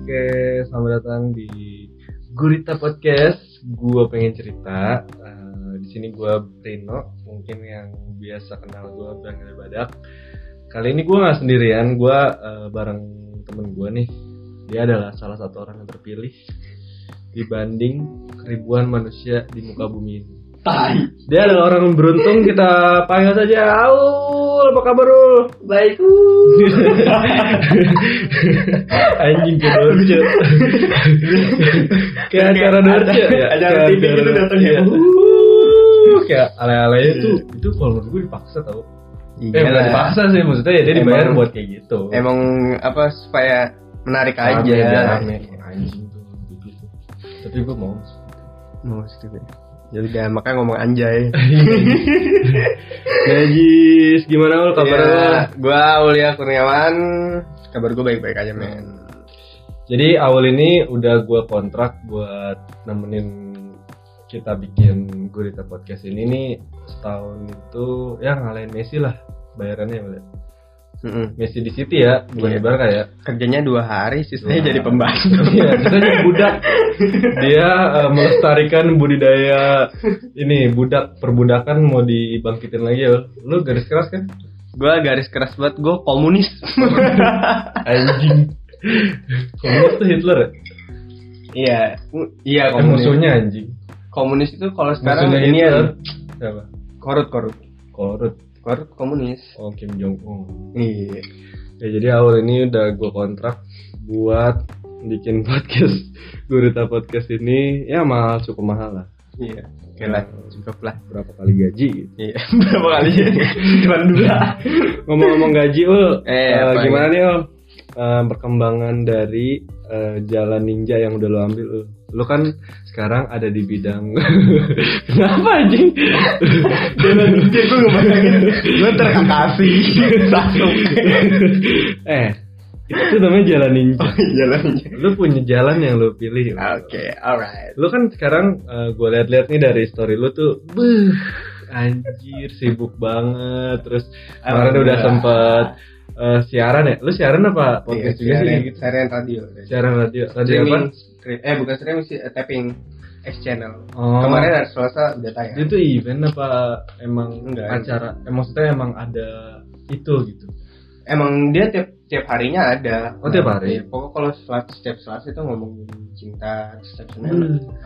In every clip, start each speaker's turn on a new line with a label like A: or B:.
A: Podcast, selamat datang di Gurita Podcast. Gua pengen cerita. Eh, di sini gua Rino, mungkin yang biasa kenal gua Bang dari Badak. Kali ini gua nggak sendirian, gua eh, bareng temen gua nih. Dia adalah salah satu orang yang terpilih dibanding ribuan manusia di muka bumi ini.
B: Tai.
A: Dia adalah orang yang beruntung, kita panggil saja Aul, apa kabar Ul?
B: Baik.
A: Anjing kayak Dorce Kayak acara Dorce ya
B: Acara
A: Kayak
B: TV gitu
A: acara-
B: datang ya.
A: iya. Uh, Kayak ale-ale itu
B: Iya.
A: Itu kalau menurut gue dipaksa tau Eh bukan dipaksa sih Maksudnya ya dia dibayar
C: Emang-
A: buat kayak gitu
C: Iya emang apa supaya menarik
A: Rame,
C: aja
A: biar rame. Anjing tuh gitu. Tapi gue mau
C: Mau stupid. jadi Ya udah makanya ngomong anjay
A: Iya. Najis Gimana Ul
C: ya, gue Ulia Kurniawan kabar gue baik-baik aja men
A: Jadi awal ini udah gue kontrak buat nemenin kita bikin Gurita Podcast ini nih setahun itu ya ngalahin Messi lah bayarannya boleh.
C: Mm-mm.
A: Messi di City ya bukan di
C: Iya.
A: Barca ya.
C: kerjanya dua hari sisanya
A: Dua
C: jadi
A: hari.
C: pembantu
A: Iya, kita jadi budak. Dia eh, melestarikan budidaya ini budak perbudakan mau dibangkitin lagi ya. Lu garis keras kan?
C: gue garis keras banget gue komunis
A: Anjing. Komunis tuh Hitler ya?
C: iya u- iya
A: Eh,
C: komunis
A: musuhnya anjing.
C: komunis itu kalau sekarang
A: Musuhnya
C: ini
A: Hitler.
C: ya
A: Siapa?
C: korut korut
A: Korut.
C: korut komunis
A: Oh Kim Jong Un.
C: iya
A: Ya jadi awal ini udah gue kontrak buat bikin podcast Gurita Podcast ini ya mahal cukup mahal lah
C: iya oke lah cukup lah
A: berapa kali gaji gitu.
C: iya berapa kali cuma dua
A: ngomong-ngomong gaji ul
C: Eh,
A: eh,
C: apa
A: gimana nih ul Eh, perkembangan dari eh, jalan ninja yang udah lo ambil ul lo kan sekarang ada di bidang kenapa anjing
C: Jalan ninja gue ngebayangin Gue terkasih Satu
A: eh itu namanya jalan ninja
C: Oh. Jalan ninja
A: lo punya jalan yang lo pilih Ul.
C: Oke alright
A: Lu kan sekarang gue liat-liat nih dari story lu tuh, buh, anjir sibuk banget. Terus kemarin udah
C: Alhamdulillah.
A: sempet eh, siaran ya. Lu siaran apa podcast juga sih?
C: Siaran
A: Gitu?
C: siaran radio
A: Siaran radio. Radio apa?
C: Streaming Stre- Eh bukan streaming sih eh, Tapping X channel
A: Oh.
C: Kemarin hari Selasa ya? udah
A: Itu
C: tayang
A: tuh event apa emang
C: Enggak.
A: acara? Eh, maksudnya emang ada itu gitu.
C: Emang dia tiap tiap harinya ada
A: Oh, tiap hari?
C: Iya, Pokoknya kalau Selasa setiap Selasa itu ngomongin cinta terus Setiap
A: Hmm.
C: Senin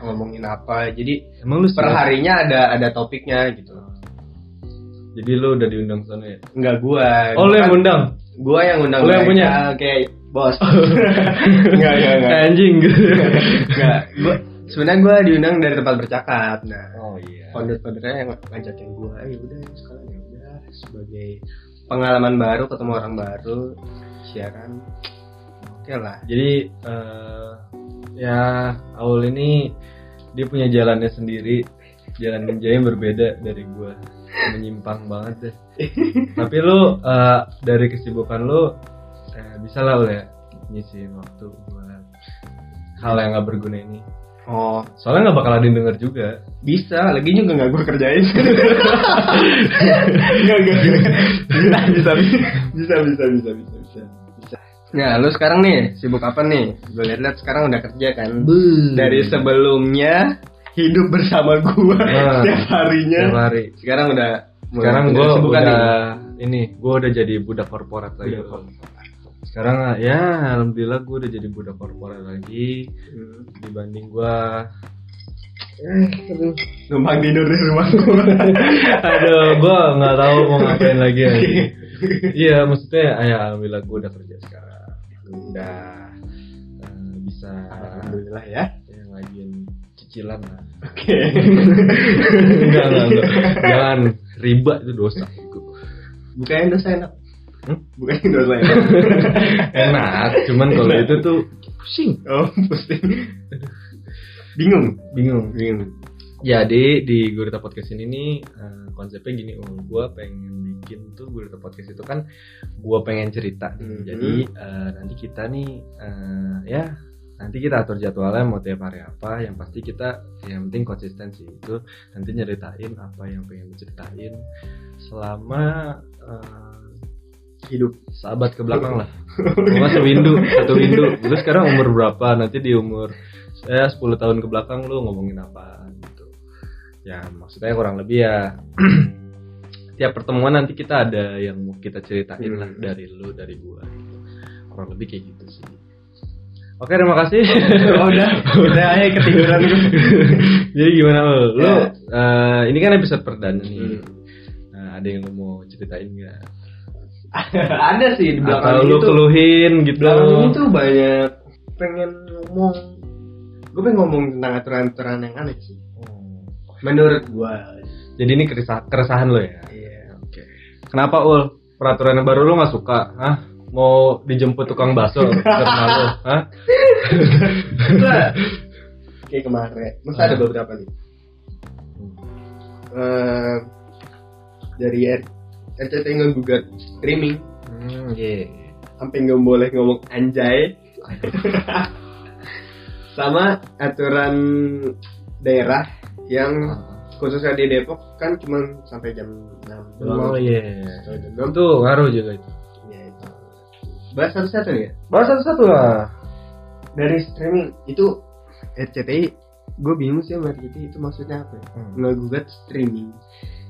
C: ngomongin apa Jadi
A: Emang lu
C: per
A: siaran?
C: harinya ada ada topiknya gitu
A: Jadi lu udah diundang sana ya?
C: Enggak gua
A: Oh, lu
C: Gua
A: yang
C: kan-
A: undang?
C: Gua yang undang
A: Lu yang
C: mereka,
A: punya?
C: Kayak bos Enggak enggak enggak
A: Anjing.
C: Enggak, gua sebenarnya gue diundang dari tempat bercakap. Nah,
A: oh iya.
C: founder-foundernya yang ngajakin gue, ya udah sekarang ya udah sebagai pengalaman baru, ketemu orang baru, siaran. Oke lah.
A: Jadi eh, ya Aul ini dia punya jalannya sendiri, jalan ninjanya berbeda dari gua, menyimpang banget deh. Tapi lu eh, dari kesibukan lu eh, bisa lah Aul ya nyisiin waktu buat hal yang gak berguna ini.
C: Oh,
A: Soalnya nggak bakalan didengar juga.
C: bisa. Lagi juga nggak gue kerjain. Nggak nggak. nggak. Bisa bisa bisa bisa bisa bisa bisa. bisa. Nah, lu sekarang nih sibuk apa nih? Gue liat-liat sekarang udah kerja kan. dari sebelumnya hidup bersama gua
A: Nah,
C: setiap harinya
A: setiap hari.
C: sekarang udah
A: Sekarang
C: udah
A: gua
C: kesibukan
A: udah
C: nih.
A: ini, gua udah jadi budak korporat lagi.
C: Budak
A: Aul. Sekarang ya alhamdulillah gua udah jadi budak korporat lagi.
C: Hmm.
A: dibanding gua Eh,
C: numpang tidur di rumah gua
A: aduh gua nggak tahu mau ngapain lagi anjing. iya maksudnya ya alhamdulillah gua udah kerja sekarang udah eh, bisa
C: alhamdulillah ya
A: ya ngajuin cicilan lah
C: oke
A: enggak enggak enggak jangan riba itu dosa
C: bukannya dosa enak
A: Hmm?
C: bukannya dosa enak
A: enak cuman kalau itu tuh pusing
C: oh pusing bingung
A: bingung
C: bingung
A: Jadi Ya, di Gurita Podcast ini nih eh, konsepnya gini, um, gue pengen bikin tuh Gurita Podcast itu kan gue pengen cerita. nih.
C: Mhm.
A: Jadi eh, nanti kita nih eh, ya nanti kita atur jadwalnya mau tiap hari apa. Yang pasti kita yang penting konsistensi itu nanti nyeritain apa yang pengen diceritain selama eh,
C: hidup
A: sahabat ke belakang lah Cuma
C: Iya.
A: sewindu Oh, satu windu lu sekarang umur berapa nanti di umur saya 10 tahun ke belakang lu ngomongin apa gitu ya maksudnya kurang lebih ya tiap pertemuan nanti kita ada yang mau kita ceritain lah
C: Hmm.
A: dari lu dari gua gitu kurang lebih kayak gitu sih oke terima kasih
C: oh, udah udah aja ketiduran gue
A: jadi gimana lu lu
C: Ya.
A: eh, ini kan episode perdana nih
C: Hmm.
A: Nah, ada yang lu mau ceritain nggak
C: ada sih di belakang
A: atau lu
C: itu
A: keluhin
C: di
A: gitu
C: belakang ini tuh banyak pengen ngomong gue pengen ngomong tentang aturan-aturan yang aneh sih
A: Hmm.
C: menurut gue
A: jadi ini keresah- keresahan lo ya
C: iya
A: Oke. Kenapa ul? Peraturan yang baru lu nggak suka? Hah? Mau dijemput tukang bakso karena lu? Hah?
C: Gua- kayak kemarin masa ada
A: Ah.
C: beberapa nih Eh, dari R- RCTI ngegugat streaming
A: Hmm, iya.
C: sampai nggak boleh ngomong anjay sama aturan daerah
A: Hmm. Ah.
C: yang khususnya di Depok kan cuma sampai jam 6
A: Oh
C: doang.
A: iya.
C: Sampai jam enam.
A: Itu ngaruh juga itu.
C: Ya, itu. bahas satu-satu nih ya
A: Baru satu-satu lah.
C: dari streaming itu eh, RCTI gue bingung sih sama RCTI itu maksudnya apa ya?
A: Hmm.
C: ngegugat streaming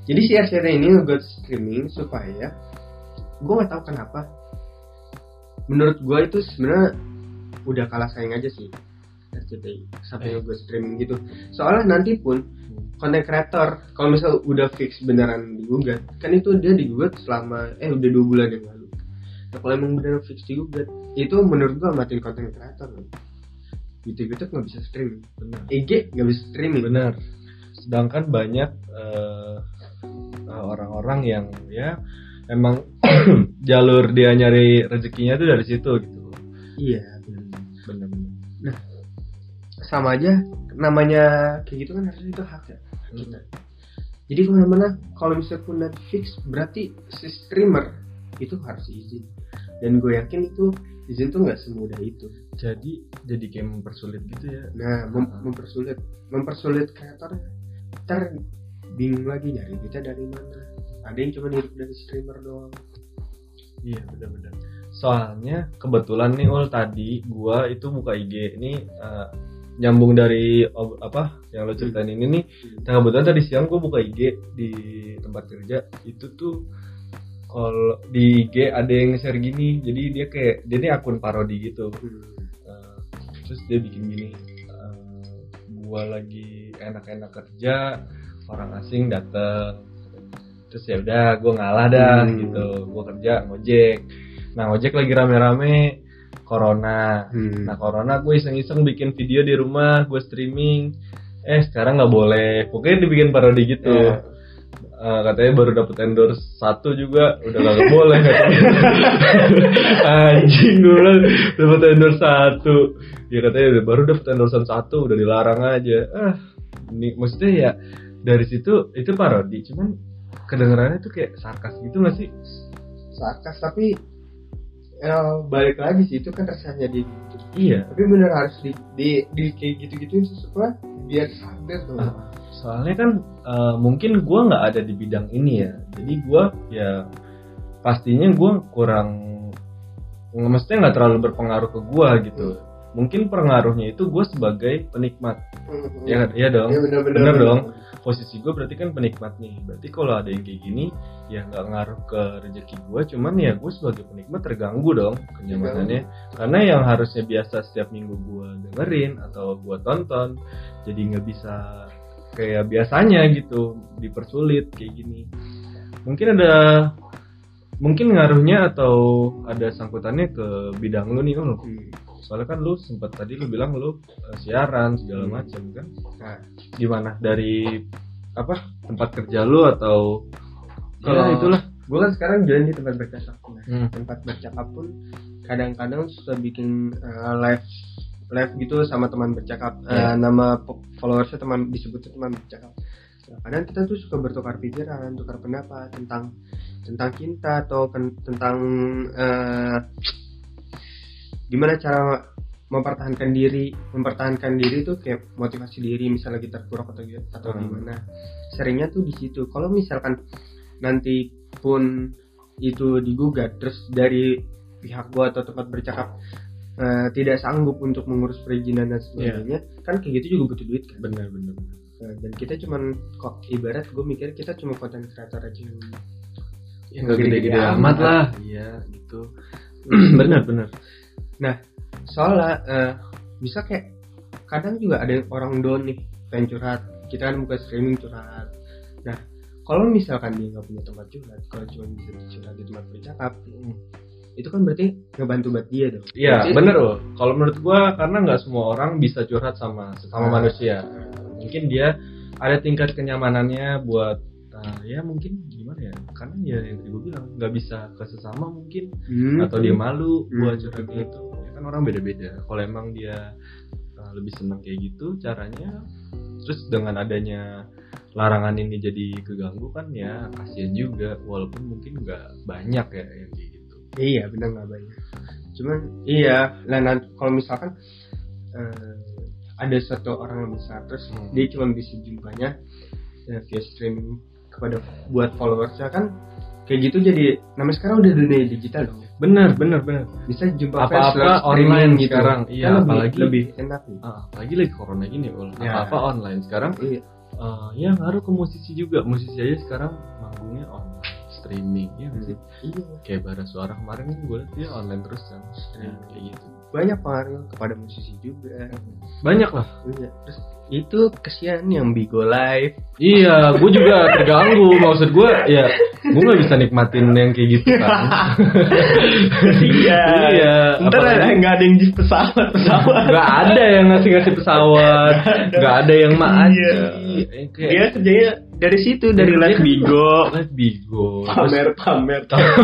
C: jadi si RCTI ini ngegugat streaming supaya gue nggak tahu kenapa menurut gue itu sebenarnya udah kalah saing aja sih RCTI sampai
A: Eh.
C: ngegugat streaming gitu soalnya nanti pun konten kreator kalau misal udah fix beneran digugat kan itu dia digugat selama eh udah dua bulan yang lalu nah, kalau emang beneran fix digugat itu menurut gua matiin konten kreator loh. YouTube YouTube nggak bisa streaming
A: Benar.
C: IG nggak bisa streaming
A: Benar. Sedangkan banyak eh, eh, orang-orang yang ya emang jalur dia nyari rezekinya tuh dari situ gitu.
C: iya
A: Hmm, Benar-benar.
C: sama aja namanya kayak gitu kan harusnya itu hak ya hak
A: Hmm.
C: kita jadi kemana-mana kalau misalnya pun Netflix berarti si streamer itu harus izin dan gue yakin itu izin tuh nggak semudah itu
A: Jadi jadi kayak mempersulit gitu ya.
C: Nah, mem-
A: Heeh.
C: mempersulit mempersulit kreator ntar bingung lagi nyari duitnya dari mana. Ada yang cuma hidup dari streamer doang.
A: Iya benar-benar. Soalnya kebetulan nih ul tadi gua itu buka IG ini eh, nyambung dari ob- apa yang lo ceritain ini nih. Nah kebetulan tadi siang gua buka IG di tempat kerja itu tuh kalau di IG ada yang share gini. Jadi dia kayak dia ini akun parodi gitu. Eh, terus dia bikin gini. eh, gua lagi enak-enak kerja orang asing datang terus ya udah gue ngalah dah
C: Hmm.
A: gitu gue kerja ngojek nah ngojek lagi rame-rame corona
C: Hmm.
A: nah corona gue iseng-iseng bikin video di rumah gue streaming eh sekarang nggak boleh pokoknya dibikin parodi gitu
C: Ya.
A: Eh, katanya baru dapet endorse satu juga udah gak boleh katanya anjing gue bilang dapet endorse satu ya katanya udah baru dapet endorsean satu udah dilarang aja ah ini maksudnya ya dari situ itu parodi cuman kedengarannya tuh kayak sarkas gitu gak sih
C: Sarkas tapi eh, balik lagi sih itu kan resahnya di
A: iya
C: tapi bener harus di di, di kayak gitu-gituin supaya biar sadar tuh.
A: Ah, soalnya kan eh, mungkin gua nggak ada di bidang ini ya jadi gua ya pastinya gua kurang nggak mestinya nggak terlalu berpengaruh ke gua gitu mungkin pengaruhnya itu gue sebagai penikmat
C: Hmm.
A: ya kan? iya dong
C: Ya, bener-bener.
A: Bener dong. posisi gue berarti kan penikmat nih berarti kalau ada yang kayak gini ya nggak ngaruh ke rezeki gue cuman ya gue sebagai penikmat terganggu dong kenyamanannya karena yang harusnya biasa setiap minggu gue dengerin atau gue tonton jadi nggak bisa kayak biasanya gitu dipersulit kayak gini mungkin ada mungkin ngaruhnya atau ada sangkutannya ke bidang lu nih Ul.
C: Hmm.
A: soalnya kan lu sempat tadi lu bilang lu eh, siaran segala
C: Hmm.
A: macam kan
C: Nah,
A: gimana dari apa tempat kerja lu atau kalau
C: Ya,
A: itulah
C: gue kan sekarang jalan di tempat baca sakti.
A: Hmm.
C: tempat bercakap pun kadang-kadang suka bikin eh, live live gitu sama teman bercakap Eh,
A: Iya.
C: nama po- followersnya teman disebutnya teman bercakap Nah, kadang kita tuh suka bertukar pikiran tukar pendapat tentang tentang cinta atau ken- tentang eh, gimana cara mempertahankan diri mempertahankan diri tuh kayak motivasi diri misalnya lagi terpuruk atau gitu- atau
A: Hmm.
C: gimana seringnya tuh di situ kalau misalkan nanti pun itu digugat terus dari pihak gua atau tempat bercakap eh, tidak sanggup untuk mengurus perizinan dan sebagainya
A: Iya.
C: kan kayak gitu juga butuh duit kan
A: benar benar benar.
C: Nah, dan kita cuman kok ibarat gue mikir kita cuma konten kreator aja yang
A: ya nggak gede-gede amat lah iya gitu benar benar
C: soalnya eh, bisa kayak kadang juga ada yang orang down nih pengen curhat kita kan buka streaming curhat nah kalau misalkan dia nggak punya tempat curhat kalau cuma bisa curhat di tempat bercakap
A: Hmm.
C: itu kan berarti ngebantu buat dia dong
A: iya
C: Berarti-
A: benar loh kalau menurut gua karena nggak semua orang bisa curhat sama sama
C: Nah.
A: manusia mungkin dia ada tingkat kenyamanannya buat eh, ya mungkin gimana ya karena ya yang tadi gua bilang nggak bisa ke sesama mungkin
C: Hmm.
A: atau dia malu
C: Hmm.
A: buat curhat gitu ya kan orang beda-beda kalau emang dia uh, lebih senang kayak gitu caranya terus dengan adanya larangan ini jadi keganggu kan ya kasihan juga walaupun mungkin nggak banyak ya yang kayak gitu
C: Iya benar nggak banyak. Cuman iya, lah nan- kalau misalkan eh, ada satu orang yang besar terus
A: Hmm.
C: dia cuma bisa jumpanya eh, via streaming kepada buat followersnya kan kayak gitu jadi namanya sekarang udah dunia digital dong
A: bener bener bener
C: bisa jumpa
A: Apa-apa
C: fans lewat streaming
A: online sekarang. Iya,
C: Kan lebih,
A: apalagi-
C: lebih enak nih
A: ah, lagi lagi corona gini wal
C: Ya.
A: apa apa online sekarang
C: Iya.
A: uh, ya ngaruh ke musisi juga musisi aja sekarang manggungnya online streaming ya nggak sih?
C: iya
A: kayak bara suara kemarin kan gue liat dia online terus kan streaming
C: Ya.
A: kayak gitu
C: banyak pengaruh kepada musisi juga
A: banyak lah
C: Iya. terus itu kesian yang bigo live
A: Iya, gue juga terganggu. Maksud gue, ya gue nggak bisa nikmatin yang kayak gitu kan. iya.
C: ntar ada-
A: apalagi
C: nggak ada yang di pesawat pesawat
A: nggak ada yang ngasih ngasih pesawat, nggak ada yang maaci.
C: Iya.
A: Eh, kayak-
C: dia kerjanya dari situ dari
A: Dia
C: live
A: kan
C: bigo
A: live bigo.
C: pamer pamer
A: Terus-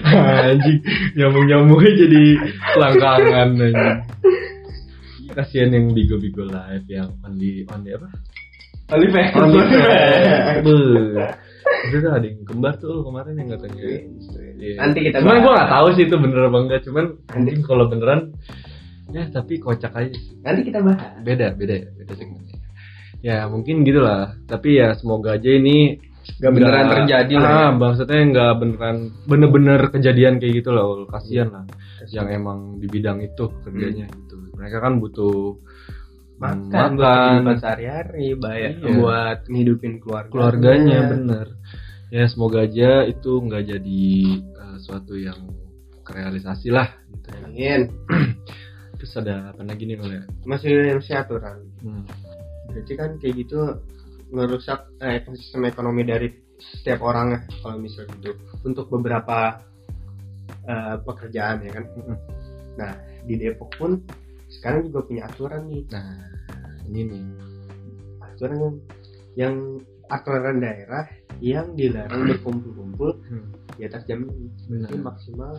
A: anjing, nyambung nyambungnya jadi langkangan anjing. Kasian yang bigo-bigo live yang only only apa?
C: OnlyFans Iya.
A: OnlyFans. Beuh. Itu tuh ada yang kembar tuh kemarin yang katanya. Iya.
C: nanti kita
A: cuman
C: bahas.
A: gue nggak tahu sih itu bener apa enggak cuman anjing kalau beneran ya tapi kocak aja sih.
C: nanti kita bahas
A: beda beda ya beda segmennya ya mungkin gitulah tapi ya semoga aja ini
C: Nggak beneran terjadi lah ya.
A: ah, maksudnya nggak beneran bener-bener kejadian kayak gitu loh kasihan lah yang emang di bidang itu kerjanya gitu mereka kan butuh
C: Hmm. makan buat kehidupan sehari-hari bayar
A: Iya.
C: buat ngidupin keluarga
A: keluarganya bener ya semoga aja itu nggak jadi eh, suatu yang kerealisasi lah gitu ya.
C: Amin.
A: terus ada apa lagi nih kalau ya
C: masih yang aturan
A: Hmm.
C: berarti kan kayak gitu ngerusak eh, ekosistem ekonomi dari setiap orang kalau misalnya gitu untuk beberapa eh, pekerjaan ya kan nah di Depok pun sekarang juga punya aturan nih
A: nah ini nih
C: aturan yang, yang aturan daerah yang dilarang berkumpul-kumpul
A: Hmm.
C: di atas jam ini.
A: benar
C: Berarti maksimal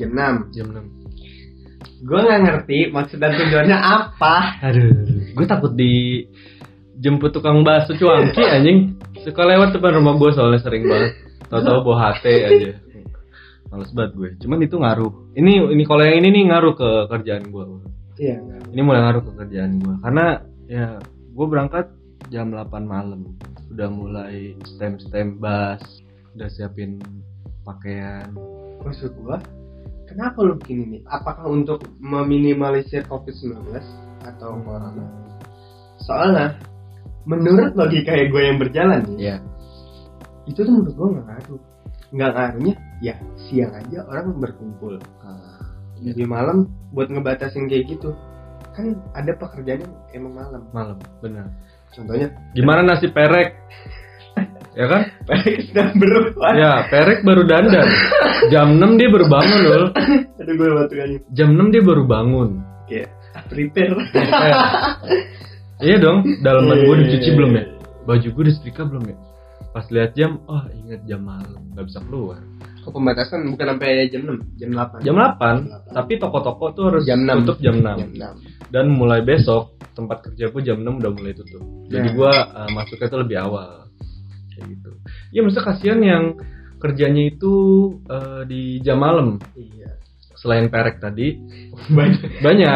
C: jam 6
A: jam 6
C: gue nggak ngerti maksud dan tujuannya apa
A: aduh gue takut di jemput tukang bakso cuangki anjing suka lewat depan rumah gue soalnya sering banget tau-tau bawa HT aja males banget gue cuman itu ngaruh ini ini kalau yang ini nih ngaruh ke kerjaan gue
C: iya
A: ini mulai ngaruh ke kerjaan gue karena ya gue berangkat jam 8 malam udah mulai stem stem bas udah siapin pakaian
C: maksud gua kenapa lu begini nih apakah untuk meminimalisir covid 19 atau corona soalnya menurut logika ya gue yang berjalan nih
A: ya
C: itu tuh menurut gue nggak ngaruh nggak ngaruhnya ya siang aja orang berkumpul
A: Iya. eh,
C: di malam buat ngebatasin kayak gitu kan ada pekerjaan yang emang malam
A: malam benar
C: contohnya
A: gimana nasi perek ya kan
C: Paris sedang berubah
A: ya perek baru dandan jam 6 dia baru bangun loh
C: aduh gue batuk aja
A: jam 6 dia baru bangun
C: kayak prepare
A: Eh, iya dong dalaman gue dicuci
C: Iya.
A: belum ya baju gue udah setrika belum ya pas lihat jam oh ingat jam malam nggak bisa keluar
C: kok pembatasan bukan sampai jam 6 jam 8
A: jam 8, tapi toko-toko tuh harus
C: Jam Iya. 6.
A: tutup jam 6.
C: jam 6
A: Dan mulai besok tempat kerja gue jam 6 udah mulai tutup. Jadi
C: Ya.
A: gua uh, masuknya tuh lebih awal. Kayak gitu. Ya maksudnya kasihan yang kerjanya itu uh, di jam eh, malam.
C: iya
A: selain perek tadi
C: banyak Iya.
A: banyak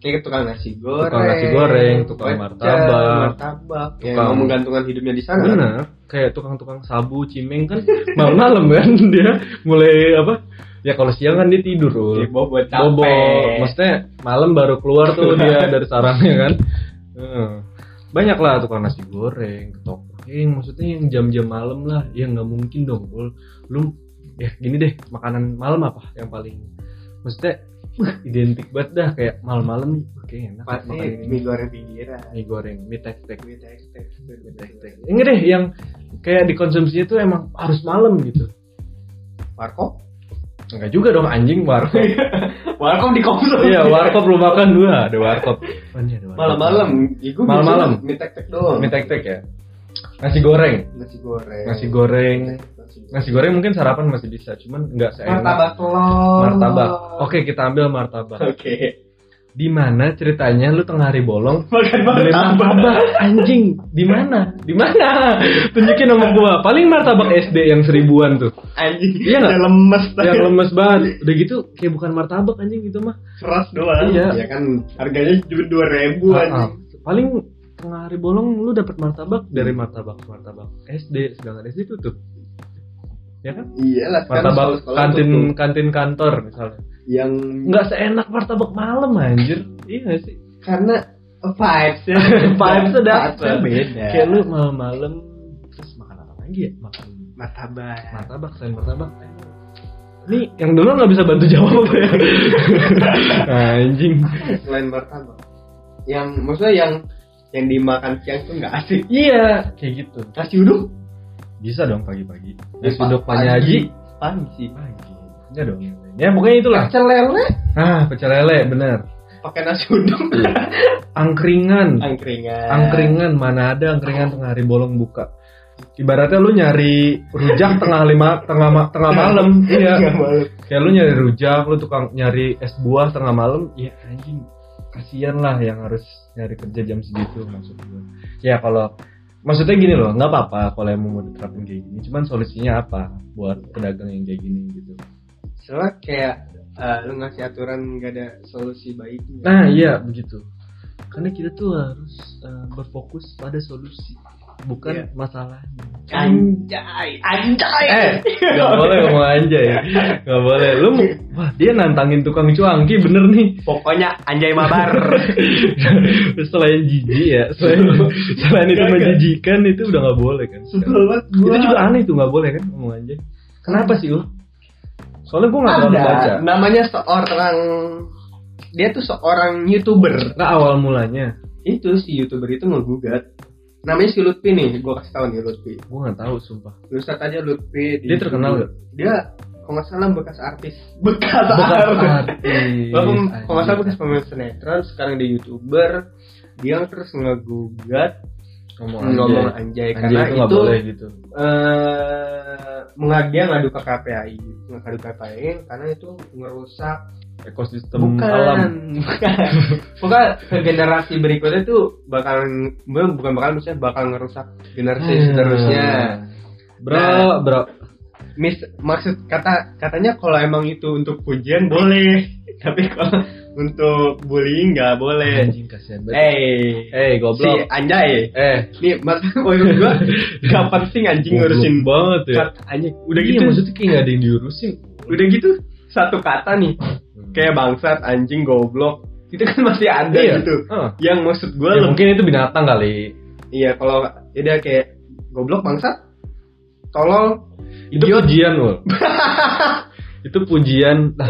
C: kayak tukang nasi goreng
A: Ya. Tukang nasi goreng, tukang
C: pecel,
A: martabak.
C: martabak yang
A: Tukang-
C: mau menggantungkan hidupnya di sana kan?
A: benar kayak tukang-tukang sabu cimeng kan malam-malam kan dia mulai apa ya kalau siang kan dia tidur Rul.
C: Jadi bobot Iya, capek
A: bobo maksudnya malam baru keluar tuh dia dari sarangnya kan Heeh. banyak lah tukang nasi goreng ketopeng maksudnya yang jam-jam malam lah ya nggak mungkin dong Bul. lu ya gini deh makanan malam apa yang paling maksudnya wah, identik banget dah kayak malam-malam nih wah, kayaknya enak
C: pasti
A: makan ini
C: mie goreng pinggiran
A: mie goreng mie tek tek
C: mie tek-tek.
A: ini deh yang kayak dikonsumsinya tuh emang harus malam gitu
C: warkop
A: enggak juga dong anjing warkop
C: warkop di komplek
A: iya warkop lu makan dua ada warkop oh, ini ada warkop
C: malam-malam Ya, gua
A: Malam-malam.
C: biasanya mie tek-tek doang
A: mie tek tek ya nasi goreng
C: nasi goreng
A: nasi goreng
C: Nasi goreng.
A: nasi goreng mungkin sarapan masih bisa cuman nggak seenak
C: martabak Oh. telur
A: martabak oke kita ambil martabak
C: oke
A: di mana ceritanya lu tengah hari bolong
C: makan
A: beli
C: martabak
A: martabak anjing di mana di mana tunjukin sama gua paling martabak SD yang seribuan tuh
C: anjing
A: Iya nggak?
C: udah lemes
A: yang lemes banget udah gitu kayak bukan martabak anjing gitu mah
C: keras doang
A: Iya.
C: ya kan harganya cuma dua ribu
A: Ah, ah.
C: anjing
A: paling tengah hari bolong lu dapat martabak dari martabak martabak SD sedangkan SD tutup ya kan
C: iyalah Iya sekarang
A: martabak
C: sekolah-sekolah
A: kantin
C: tutup.
A: kantin kantor misalnya
C: yang
A: nggak seenak martabak malam anjir iya nggak sih
C: karena vibes ya
A: vibes udah
C: Vibes-nya beda
A: kayak lu malam-malam terus makan apa lagi ya makan
C: martabak
A: martabak selain martabak ini yang dulu nggak bisa bantu jawab apa ya anjing
C: selain martabak yang maksudnya yang yang dimakan siang tuh nggak asik
A: iya kayak gitu
C: nasi uduk
A: bisa dong pagi-pagi
C: Ya,
A: nasi uduk
C: pagi.
A: pagi haji
C: pagi sih
A: pagi ya dong yang lain. ya pokoknya itulah
C: pecel lele
A: ah pecel lele bener
C: pakai nasi uduk
A: Iya. angkringan
C: angkringan
A: angkringan mana ada angkringan tengah hari bolong buka ibaratnya lu nyari rujak tengah lima tengah ma- tengah malam iya
C: Nggak malu.
A: kayak lu nyari rujak lu tukang nyari es buah tengah malam ya anjing kasihan lah yang harus nyari kerja jam segitu maksud gue ya kalau maksudnya gini loh nggak apa-apa kalau emang mau diterapin kayak gini cuman solusinya apa buat pedagang yang kayak gini gitu
C: soalnya kayak eh, lu ngasih aturan nggak ada solusi baiknya
A: Nah iya begitu. Karena kita tuh harus eh, berfokus pada solusi, bukan
C: Iya.
A: masalahnya.
C: anjay anjay
A: Eh, nggak boleh ngomong anjay, nggak boleh. Lu, mau- wah dia nantangin tukang cuangki bener nih.
C: pokoknya anjay mabar
A: selain jijik ya, selain, selain itu
C: Nggak, nggak.
A: menjijikan itu udah nggak boleh kan.
C: sebel banget
A: Itu juga aneh tuh nggak boleh kan ngomong anjay. Kenapa sih lo? Soalnya gue nggak terlalu baca.
C: ada namanya seorang dia tuh seorang youtuber
A: Nah awal mulanya
C: itu si youtuber itu ngegugat namanya si Lutfi nih gue kasih tau nih Lutfi
A: gue nggak tahu sumpah.
C: lu search aja Lutfi di
A: Dia terkenal nggak?
C: dia kalau nggak salah bekas artis bekas,
A: Bekas
C: artis
A: artis. Iya,
C: Bahkan kalau nggak salah
A: Ah, anjing.
C: bekas pemain sinetron sekarang dia youtuber dia terus ngegugat
A: ngomong anjay.
C: ngomong anjay,
A: Anjay
C: karena
A: itu
C: itu,
A: nggak boleh gitu
C: eh, mengadu dia ngadu ke KPAI ngadu KPAI karena itu ngerusak
A: ekosistem
C: bukan
A: alam
C: bukan bukan ke generasi berikutnya tuh bakalan bukan bakal maksudnya bakal ngerusak generasi
A: Hmm.
C: seterusnya
A: bro
C: Nah.
A: bro
C: Mis, maksud kata katanya kalau emang itu untuk pujian boleh tapi kalau untuk bullying nggak boleh
A: anjing kasihan
C: eh
A: banget eh
C: si
A: goblok
C: anjay
A: eh
C: nih maksud oh, maksud gua gak penting anjing
A: goblok
C: ngurusin
A: banget ya
C: kata anjing udah
A: Iya,
C: gitu
A: maksudnya kayak nggak ada yang diurusin Hmm.
C: udah gitu satu kata nih kayak bangsat anjing goblok itu kan masih ada
A: Iya.
C: gitu
A: Heeh.
C: yang maksud gua
A: Ya,
C: lebih
A: mungkin itu binatang kali
C: Iya, kalau ya dia kayak goblok bangsat, tolol,
A: itu
C: idiot.
A: pujian wul itu pujian Nah,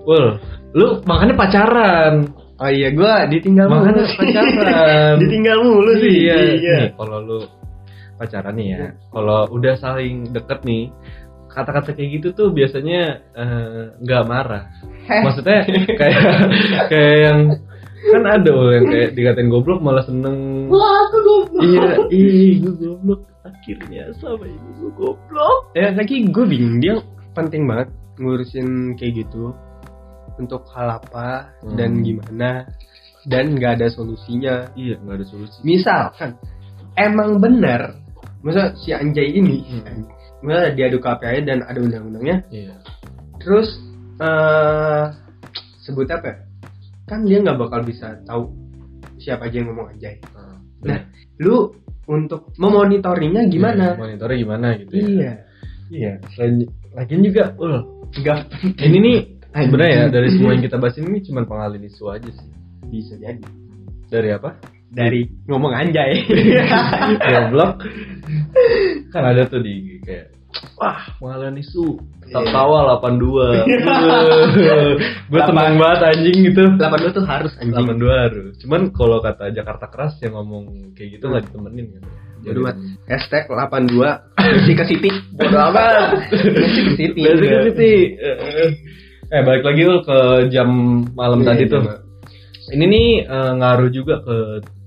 A: wul lu makanya pacaran
C: Oh iya, gua ditinggal
A: Makanya
C: mulu. sih.
A: pacaran.
C: ditinggal mulu sih.
A: iya, Nih, kalau lu pacaran nih ya,
C: Iya.
A: kalau udah saling deket nih, kata-kata kayak gitu tuh biasanya eh, nggak marah.
C: Heh.
A: Maksudnya kayak kayak yang kan ada loh yang kayak dikatain goblok malah seneng.
C: Wah, aku goblok.
A: iya, ih gue goblok. Akhirnya selama ini gue goblok.
C: Ya, lagi gue bingung dia penting banget ngurusin kayak gitu untuk hal apa
A: Hmm.
C: dan gimana dan nggak ada solusinya.
A: Iya, nggak ada solusi.
C: Misalkan emang benar, masa si anjay ini,
A: Hmm.
C: masa diadu KPI dan ada undang-undangnya,
A: Iya.
C: terus eh sebut apa ya? kan dia nggak bakal bisa tahu siapa aja yang ngomong anjay nah lu untuk memonitoringnya
A: Iya,
C: gimana
A: monitornya gimana gitu ya
C: iya
A: iya selain lagian juga ul
C: nggak
A: ini nih sebenarnya ya dari semua yang kita bahas ini cuma pengalih isu aja sih
C: bisa jadi
A: dari apa
C: dari ngomong anjay
A: goblok kan ada tuh di IG kayak wah pengalian isu tetap
C: Iya.
A: tawa 82 gue seneng banget anjing gitu
C: 82 tuh harus anjing
A: 82 harus cuman kalau kata Jakarta keras yang ngomong kayak gitu nggak ditemenin kan
C: Bodo amat. Hashtag 82 Messi ke City Bodo amat Messi ke City
A: Basic City. Eh balik lagi Ul, ke jam malam
C: Iya,
A: tadi
C: jam
A: tuh.
C: malam.
A: Ini nih eh, ngaruh juga ke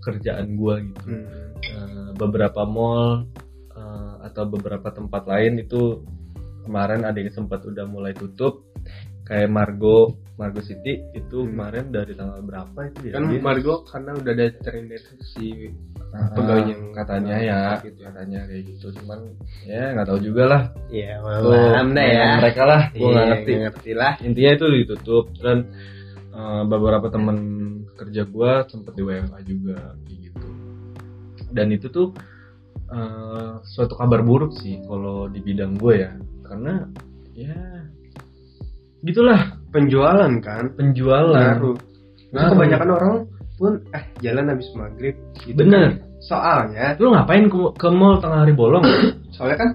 A: kerjaan gua gitu.
C: Hmm.
A: Eh, beberapa mall eh, atau beberapa tempat lain itu kemarin ada yang sempat udah mulai tutup. Kayak Margo, Margo City itu
C: Hmm.
A: kemarin dari tanggal berapa itu ya?
C: Kan
A: Dia-
C: Margo karena udah ada terindek si
A: Ah,
C: pegawainya yang-
A: katanya ya,
C: Gitu ya.
A: katanya kayak gitu. Cuman ya nggak tahu juga lah.
C: Iya
A: Tuh,
C: ya.
A: Mereka lah, gua ya. Iya, nggak ngerti.
C: ngerti lah
A: intinya itu ditutup dan eh, beberapa teman kerja gua sempet di WFA juga kayak gitu dan itu tuh eh, suatu kabar buruk sih kalau di bidang gue ya karena ya gitulah
C: Penjualan kan
A: penjualan
C: Ngaruh Kan
A: Ngaruh.
C: Kebanyakan orang pun Eh jalan habis maghrib gitu
A: Bener.
C: kan. Soalnya
A: lu ngapain ke, ke mall tengah hari bolong
C: Soalnya kan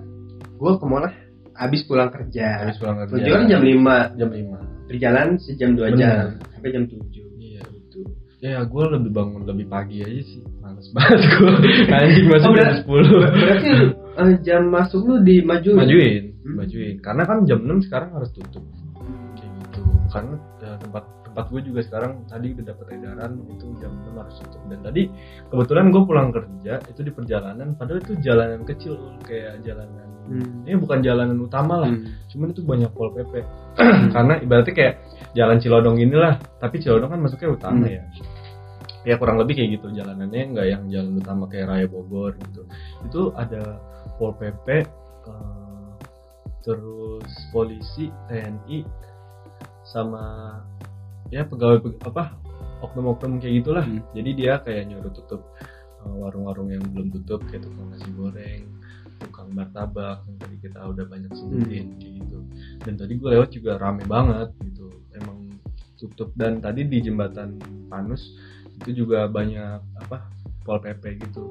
C: Gue ke mall lah Habis pulang kerja
A: habis pulang kerja
C: Tujuan kan jam 5
A: jam lima
C: Berjalan sejam 2
A: Bener.
C: jam Sampai jam 7
A: iya gitu ya gue lebih bangun lebih pagi aja sih males banget gue anjing masih
C: Oh,
A: jam
C: udah.
A: sepuluh
C: Berarti eh, jam masuk lu dimajuin.
A: majuin
C: Hmm.
A: majuin karena kan jam 6 sekarang harus tutup kayak gitu karena eh, tempat tempat gue juga sekarang tadi udah dapat edaran itu jam 6 harus tutup dan tadi kebetulan gue pulang kerja itu di perjalanan padahal itu jalanan kecil kayak jalanan
C: Hmm.
A: ini bukan jalanan utama lah cuman itu banyak pol pp karena ibaratnya kayak jalan Cilodong inilah tapi Cilodong kan masuknya utama
C: Hmm.
A: ya ya kurang lebih kayak gitu jalanannya nggak yang jalan utama kayak Raya Bogor gitu itu ada pol pp eh, terus polisi TNI sama ya pegawai pe- apa oknum-oknum kayak gitulah
C: Hmm.
A: jadi dia kayak nyuruh tutup eh, warung-warung yang belum tutup kayak tukang nasi goreng tukang martabak yang tadi kita udah banyak sebutin kayak gitu dan tadi gue lewat juga rame banget gitu emang tutup dan tadi di jembatan Panus itu juga banyak apa pol pp gitu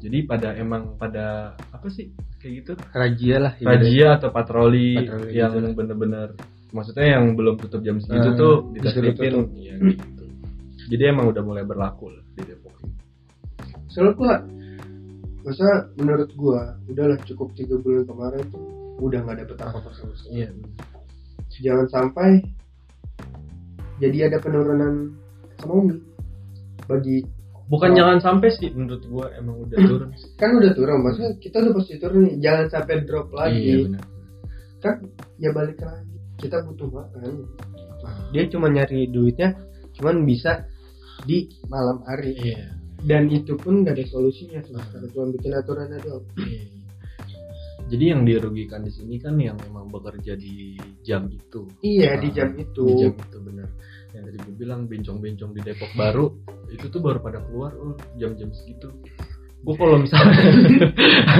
A: jadi pada emang pada apa sih kayak gitu
C: Rajia lah.
A: razia atau iya. patroli,
C: Patroli
A: yang
C: gitu.
A: bener-bener maksudnya yang belum tutup jam segitu
C: Ah,
A: tuh
C: disuruh
A: ditertibin
C: tutup.
A: Iya, gitu. jadi emang udah mulai berlaku lah di Depok ini
C: Soalnya gua, masa menurut gua udahlah cukup tiga bulan kemarin tuh udah nggak dapet apa-apa sama sekali.
A: iya
C: Jangan sampai jadi ada penurunan ekonomi bagi
A: bukan
C: Oh.
A: jangan sampai sih menurut gua emang udah turun sih.
C: kan udah turun maksudnya kita udah pasti turun nih jangan sampai drop
A: iya
C: lagi
A: benar
C: ya balik lagi kita butuh makan dia cuma nyari duitnya cuman bisa di malam hari
A: iya
C: dan itu pun gak ada solusinya sama sekali
A: Nah.
C: cuma bikin aturan aja doang.
A: iya. jadi yang dirugikan di sini kan yang memang bekerja di jam itu
C: iya
A: Ah,
C: di jam itu
A: di jam itu benar yang tadi gue bilang bencong-bencong di Depok baru itu tuh baru pada keluar oh jam-jam segitu gue kalau misalnya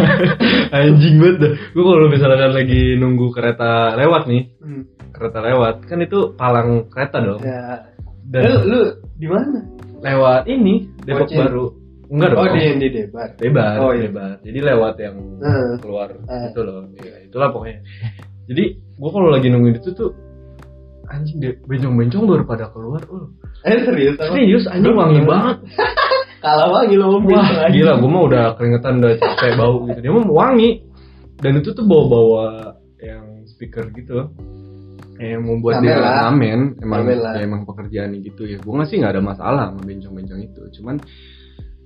A: anjing banget dah gue kalau misalkan lagi nunggu kereta lewat nih
C: Hmm.
A: kereta lewat kan itu palang kereta dong
C: ya. lu
A: dan
C: lu di mana
A: lewat ini Depok
C: Bocin.
A: baru enggak dong
C: oh di di debar
A: Debat,
C: Oh, iya.
A: debat. Jadi lewat yang
C: Heeh.
A: keluar
C: Heeh.
A: gitu loh. Ya, itulah pokoknya. Jadi gua kalau lagi nungguin itu tuh anjing deh bencong-bencong baru pada keluar. Oh,
C: eh serius apa
A: serius anjing wangi
C: Gila.
A: banget.
C: kalah wangi lo om
A: Wah, gila gua mah udah keringetan udah capek bau gitu. Dia mah wangi. Dan itu tuh bawa-bawa yang speaker gitu yang membuat
C: Ngamen lah.
A: dia ngamen emang
C: Ngamen lah.
A: ya emang pekerjaan gitu ya gua nggak sih nggak ada masalah sama bencong-bencong itu cuman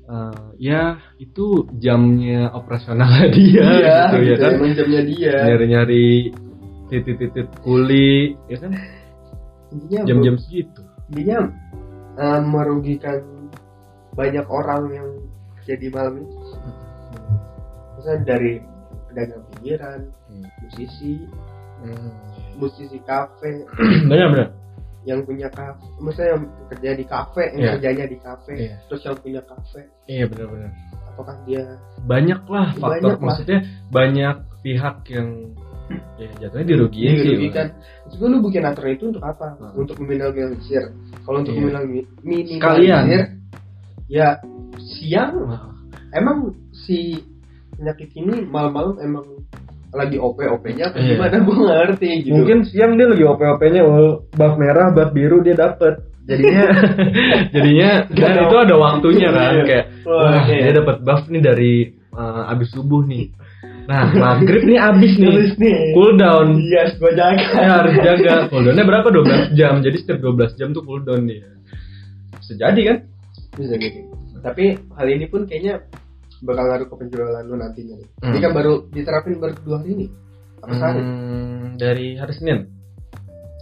A: eh, ya itu jamnya operasional dia
C: iya
A: gitu ya kan
C: emang jamnya dia
A: nyari-nyari titik-titik kuli ya kan
C: intinya
A: jam-jam segitu
C: intinya eh, merugikan banyak orang yang jadi malam itu
A: Hmm.
C: misalnya dari pedagang pinggiran musisi musisi kafe
A: benar benar
C: yang punya kafe maksudnya yang kerja di kafe yang
A: Iya.
C: kerjanya di kafe
A: Iya.
C: terus yang punya kafe
A: iya benar benar
C: apakah dia
A: banyak lah faktor
C: Banyak lah.
A: maksudnya banyak pihak yang ya jatuhnya dirugikan sih
C: dirugikan Terus gue lu bikin aturan itu untuk apa
A: Hmm.
C: untuk meminimalisir kalau
A: Iya.
C: untuk meminal- minimalisir
A: Sekalian.
C: ya siang
A: Wah,
C: emang si penyakit ini malam-malam emang lagi OP OP-nya apa
A: Iya.
C: gimana gue nggak ngerti gitu
B: Mungkin siang dia lagi OP-OP-nya, wal- buff merah, buff biru dia dapet. Jadinya
A: jadinya
C: Gak
A: dan
C: tau.
A: itu ada waktunya kan
C: Iya.
A: kayak
C: Wah,
A: wah
C: iya.
A: dia dapat buff nih dari eh, abis subuh nih nah maghrib nih abis nih
C: Nulis nih
A: cooldown
C: yes gue jaga
A: saya harus jaga cooldownnya berapa 12 jam jadi setiap 12 jam tuh cooldown dia bisa jadi kan
C: Bisa jadi. Tapi hal ini pun kayaknya bakal ngaruh ke penjualan lu nantinya. nih.
A: Hmm.
C: Ini kan baru diterapin baru dua hari nih. Apa sehari?
A: Hmm, dari hari Senin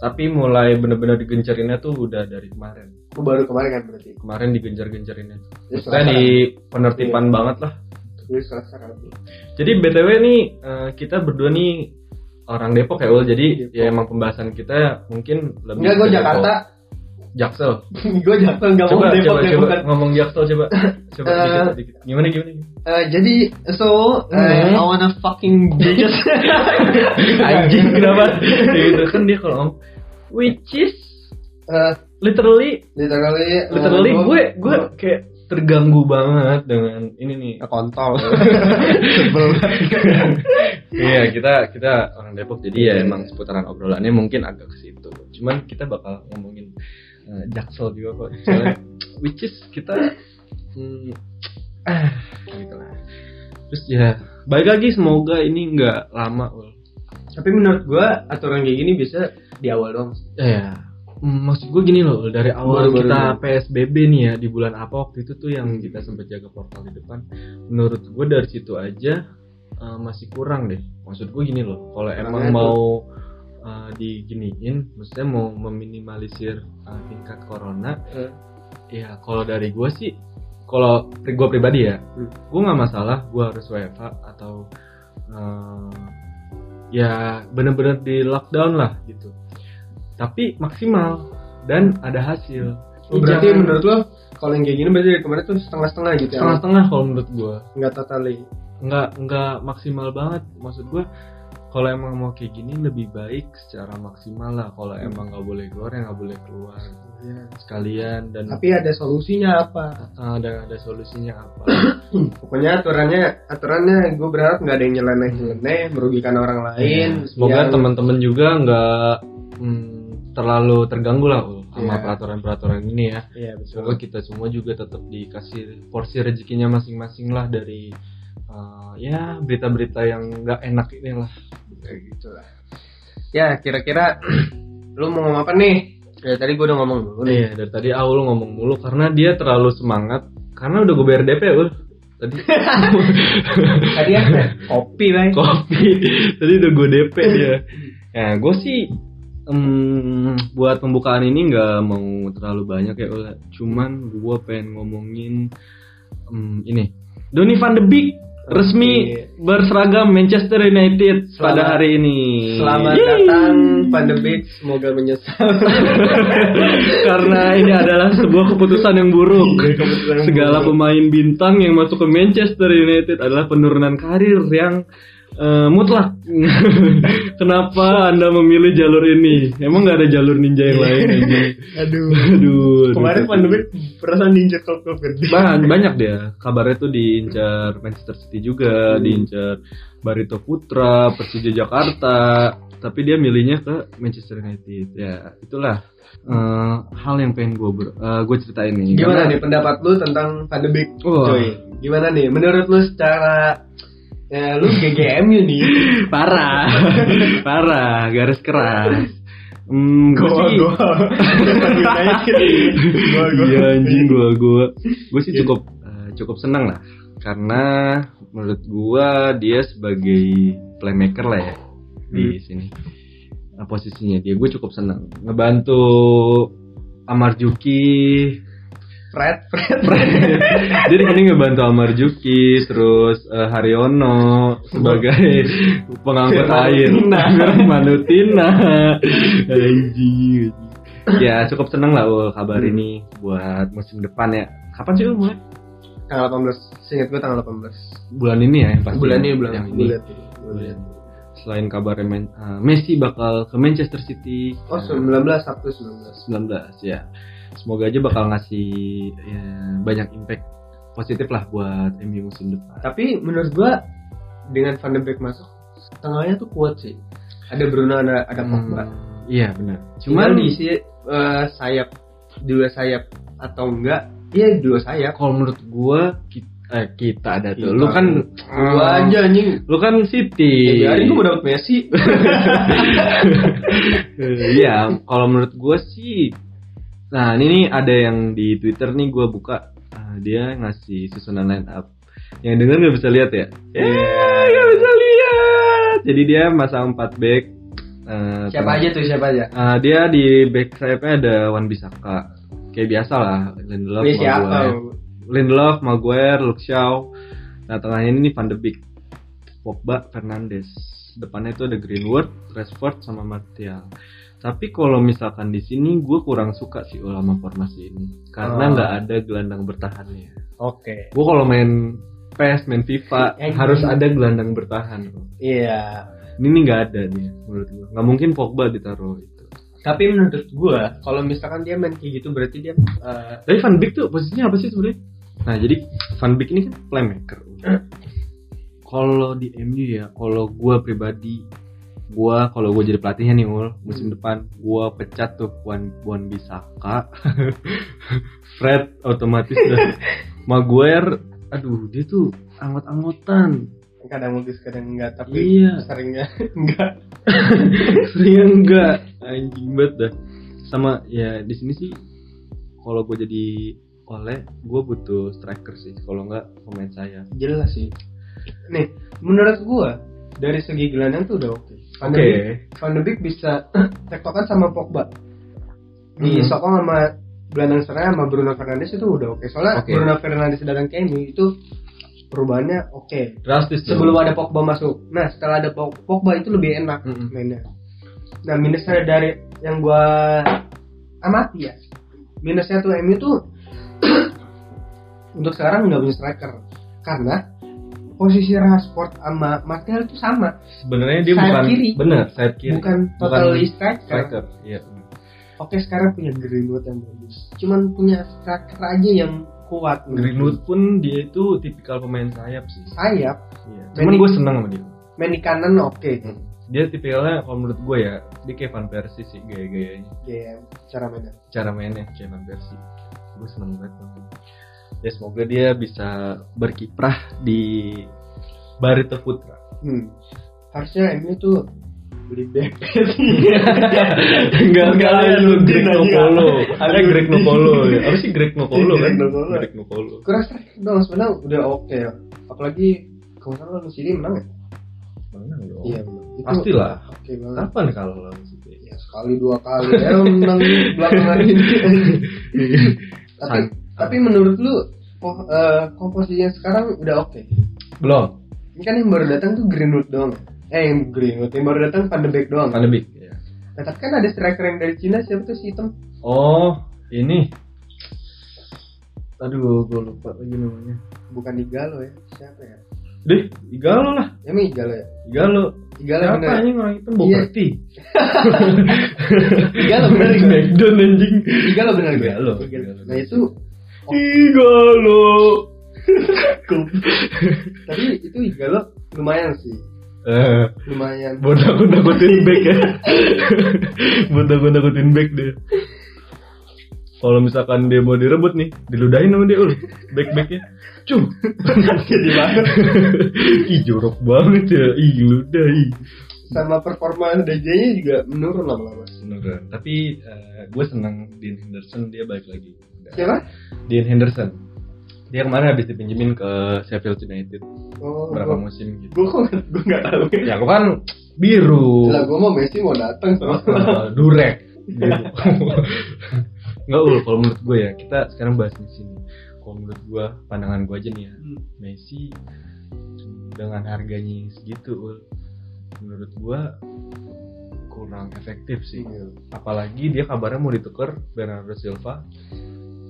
A: tapi mulai bener-bener digencerinnya tuh udah dari kemarin
C: Lu baru kemarin kan berarti.
A: kemarin digencer-gencerinnya
C: Jadi
A: Maksudnya di penertiban
C: Iya.
A: banget lah
C: Jadi Selasa Rabu.
A: Jadi BTW nih eh, kita berdua nih orang Depok ya Ul. Jadi
C: Iya, Depok.
A: ya emang pembahasan kita mungkin lebih
C: Enggak, gue
A: ke
C: Jakarta.
A: Depok. Jaksel.
C: gue Jakarta enggak mau
A: coba
C: Depok
A: coba
C: ya
A: coba
C: bukan.
A: ngomong Jaksel coba. Coba
C: Eh.
A: dikit, dikit. Gimana gimana? gimana?
C: Eh, jadi so eh,
A: Hmm.
C: I wanna fucking bitches.
A: Anjing kenapa? Ya gitu kan dia kalau ngomong which is
C: Eh,
A: literally
C: literally eh,
A: literally
C: gua-
A: gue gue kayak terganggu banget dengan ini nih.
C: gua kontol.
A: Iya kita kita orang Depok jadi ya emang seputaran obrolannya mungkin agak ke situ. Cuman kita bakal ngomongin eh, Jaksel juga kok. Soalnya, which is kita hmm, ah, gitu lah. Terus ya baik lagi semoga ini nggak lama. Ul.
C: Tapi menurut gue aturan kayak gini bisa di awal dong.
A: Ya mm, maksud gue gini loh Ul, dari awal
C: Baru-baru
A: kita
C: dulu.
A: PSBB nih ya di bulan apa waktu itu tuh yang kita sempat jaga portal di depan. Menurut gue dari situ aja eh, masih kurang deh. Maksud gue gini loh kalau emang
C: Kurangnya tuh.
A: mau eh, diginiin, maksudnya mau meminimalisir eh, tingkat corona,
C: Eh.
A: ya kalau dari gue sih, kalau pri- gue pribadi ya,
C: Hmm.
A: gue nggak masalah, gue harus WFA atau eh, ya bener-bener di lockdown lah gitu. Tapi maksimal dan ada hasil.
C: Oh, berarti
A: Jangan
C: menurut lo kalau yang kayak gini berarti dari kemarin tuh setengah-setengah gitu ya?
A: setengah-setengah kalau menurut gue.
C: Nggak totally.
A: Hmm. nggak nggak maksimal banget maksud gue kalau emang mau kayak gini lebih baik secara maksimal lah kalau
C: Hmm.
A: emang nggak boleh keluar ya nggak boleh keluar
C: Iya.
A: sekalian dan
C: Tapi ada solusinya apa?
A: eh, dan ada solusinya apa
C: Pokoknya aturannya, aturannya gue berharap nggak ada yang nyeleneh-nyeleneh, merugikan orang lain.
A: Iya. semoga
C: yang-
A: teman-teman juga nggak hmm, terlalu terganggu lah Ul, sama
C: Iya.
A: peraturan-peraturan ini ya
C: Iya betul.
A: semoga kita semua juga tetap dikasih porsi rezekinya masing-masing lah dari eh, ya berita-berita yang nggak enak inilah
C: Kayak gitu lah. Ya kira-kira lu mau ngomong apa nih? Ya tadi gue udah ngomong dulu nih.
A: Iya, dari tadi Aul ngomong mulu karena dia terlalu semangat. Karena udah gue bayar DP, Ul. Tadi
C: Tadi apa? Kopi lah. ya.
A: kopi. Tadi udah gue DP dia. Ya, gue sih em, buat pembukaan ini nggak mau terlalu banyak ya, Ul. Cuman gue pengen ngomongin em, ini. Doni van de Beek resmi
C: Oke.
A: berseragam Manchester United pada
C: Selamat-
A: hari ini.
C: Selamat
A: Yeay.
C: datang pandemi. Semoga menyesal.
A: karena ini adalah sebuah keputusan yang buruk.
C: Iya, keputusan yang
A: Segala
C: buruk.
A: pemain bintang yang masuk ke Manchester United adalah penurunan karir yang eh, mutlak. Kenapa Anda memilih jalur ini? Emang nggak ada jalur ninja yang lain? anjing?
C: Aduh.
A: Aduh.
C: Kemarin
A: aduh.
C: pandemi perasaan ninja klub klub gede.
A: Ba- banyak dia kabarnya tuh diincar Manchester City juga diincar Barito Putra Persija Jakarta tapi dia milihnya ke Manchester United ya itulah eh, hal yang pengen gue gue ceritain nih
C: Gimana
A: Karena-
C: nih pendapat lu tentang pandemi?
A: Wah.
C: Gimana nih? Menurut lu secara ya, lu GGMU nih.
A: parah parah garis keras Hmm, gua sih- Iya anjing gua gua. Gua sih cukup eh, cukup senang lah karena menurut gua dia sebagai playmaker lah ya di sini. Nah, posisinya dia gue cukup senang ngebantu Amar Juki
C: Fred, Fred,
A: Jadi ini ngebantu Amarjuki, terus eh, Haryono sebagai pengangkut
C: Firman
A: air.
C: Utina.
A: Firman Utina. Anjing. Ya cukup seneng lah Ul, kabar
C: Hmm.
A: ini buat musim depan ya. Kapan sih Ul mulai?
C: Tanggal 18, seingat gue tanggal 18.
A: Bulan ini ya yang pasti.
C: Bulan ini, bulan
A: Yang
C: bulan
A: Bulan. Selain kabar Messi bakal ke Manchester City.
C: Oh,
A: Eh,
C: 19, Sabtu
A: 19
C: 19.
A: ya. Semoga aja bakal ngasih ya, banyak impact positif lah buat MU musim depan.
C: Tapi menurut gua dengan Van de Beek masuk, tengahnya tuh kuat sih. Ada Bruno, ada ada Pogba.
A: Hmm, Iya benar.
C: Cuman
A: Cuman
C: diisi eh, sayap dua sayap atau enggak? Iya dua sayap.
A: kalau menurut gua kita, eh, kita ada tuh.
C: Kita.
A: Lu kan
C: Dua
A: Hmm,
C: aja anjing.
A: Lu kan City.
C: Ya, hari gua mau dapet Messi.
A: Iya, kalau menurut gua sih Nah, ini nih ada yang di Twitter nih gua buka Ah, dia ngasih susunan line up. Yang dengar nggak bisa lihat ya? Eh, nggak bisa lihat. Jadi dia masang 4 back. eh,
C: siapa
A: tengah-
C: aja tuh siapa aja?
A: Eh, dia di back sayapnya ada Wan Bisaka. Kayak biasa lah, Lindelof,
C: Ini siapa?
A: Maguire. Lindelof, Maguire, Luke Shaw. Nah, tengahnya ini Van de Beek, Pogba, Fernandes. Depannya itu ada Greenwood, Rashford sama Martial. Tapi kalau misalkan di sini gue kurang suka sih ulama formasi ini karena
C: Oh.
A: nggak ada gelandang bertahannya.
C: Oke.
A: Gue kalau main PES, main FIFA
C: Eh,
A: harus
C: gini.
A: ada gelandang bertahan. bro.
C: Iya.
A: Ini nih nggak ada nih menurut gue. Nggak mungkin Pogba ditaruh itu.
C: Tapi menurut gua kalau misalkan dia main kayak gitu berarti dia eh,
A: Tapi Van Beek tuh posisinya apa sih sebenarnya? Nah jadi Van Beek ini kan playmaker. Kalau di MU ya, kalau gue pribadi, gue kalau gue jadi pelatihnya nih Ul, musim depan gue pecat tuh Wan Wan Bisaka, Fred otomatis dan Maguire, aduh dia tuh anggot-anggotan,
C: kadang bagus kadang enggak tapi
A: iya
C: seringnya enggak.
A: sering Iya, enggak anjing banget dah sama ya di sini sih kalau gue jadi oleh gue butuh striker sih kalau enggak pemain saya
C: Jelas sih. Nih, menurut gua dari segi gelandang tuh udah oke. Van de Beek- Van de Beek bisa tektokan sama Pogba. Di
A: Mhm.
C: Sokong sama gelandang serang sama Bruno Fernandes itu udah oke. Soalnya
A: Oke.
C: Bruno Fernandes datang ke MU itu perubahannya oke.
A: drastis dong.
C: Sebelum ada Pogba masuk. Nah, setelah ada Pog- Pogba itu lebih enak
A: Mhm.
C: mainnya. Nah, minusnya dari yang gua amati ya. Minusnya tuh MU tuh untuk sekarang nggak punya striker karena posisi Rashford sama Martial itu sama,
A: sebenarnya dia
C: sayap
A: bukan
C: kiri.
A: bener sayap kiri
C: bukan totally striker.
A: striker iya
C: Oke sekarang punya Greenwood yang bagus Cuman punya striker aja yang kuat
A: Greenwood pun dia itu tipikal pemain sayap sih
C: Sayap
A: iya. cuman
C: Manny-
A: gue seneng sama dia
C: Main di kanan oke
A: dia tipikalnya kalau menurut gue ya dia kayak Van Persie sih gaya-gayanya
C: Dia Cara mainnya
A: cara mainnya kayak Van Persie gue seneng banget sama dia. ya semoga dia bisa berkiprah di Barito Putra
C: hmm. Harusnya MU tuh Beli back
A: enggak enggak ada lu Greg Nopolo ada Greg Nopolo ya apa sih Greg Nopolo kan
C: Greg Nopolo.
A: Greg Nopolo
C: Kurang striker dong sebenarnya udah oke ya Apalagi Kemarin lawan City menang ya?
A: mana lo
C: menang Itu
A: Iya, Pastilah.
C: Oke banget
A: kapan kalau lawan City
C: Ya sekali dua kali Ya menang belakangan ini Tapi,
A: San-
C: tapi menurut lu po- eh, Komposisinya sekarang udah oke
A: belum
C: Ini kan yang baru datang tuh Greenwood doang. Eh, yang Greenwood yang baru datang Van de Beek doang.
A: pandemi ya.
C: Nah, tapi kan ada striker yang dari Cina siapa tuh si hitam?
A: oh ini aduh gue lupa lagi namanya
C: Bukan Igalo ya. Siapa ya?
A: deh Igalo lah
C: Emang Igalo ya?
A: Igalo
C: Igalo
A: siapa
C: bener.
A: anjing orang itu
C: Iya.
A: Boberti
C: Igalo bener. Igalo.
A: Backdown anjing
C: Igalo bener. gue.
A: Igalo.
C: Igalo.
A: Igalo.
C: Nah, itu
A: Igalo
C: tapi itu Igalo lumayan sih.
A: eh
C: Lumayan.
A: buat aku nakutin back ya buat aku nakutin back dia kalau misalkan dia mau direbut nih diludahin sama dia ul back backnya cum
C: Jadi banget
A: ih jorok banget ya ih ludah ih
C: sama performa DJ-nya juga menurun lama-lama.
A: Beneran. tapi eh, gue seneng Dean Henderson dia balik lagi
C: Siapa?
A: Dean Henderson dia kemarin habis dipinjemin ke Sheffield United
C: Oh,
A: berapa musim gitu
C: gue kok gue nggak tahu.
A: ya lu kan biru
C: Lah, gue mau Messi mau datang sama
A: Eh, durek Enggak ul, kalau menurut gue ya kita sekarang bahas di sini. Kalau menurut gue pandangan gue aja nih ya,
B: Hmm.
A: Messi dengan harganya yang segitu ul, menurut gue kurang efektif sih. Apalagi dia kabarnya mau ditukar Bernardo Silva,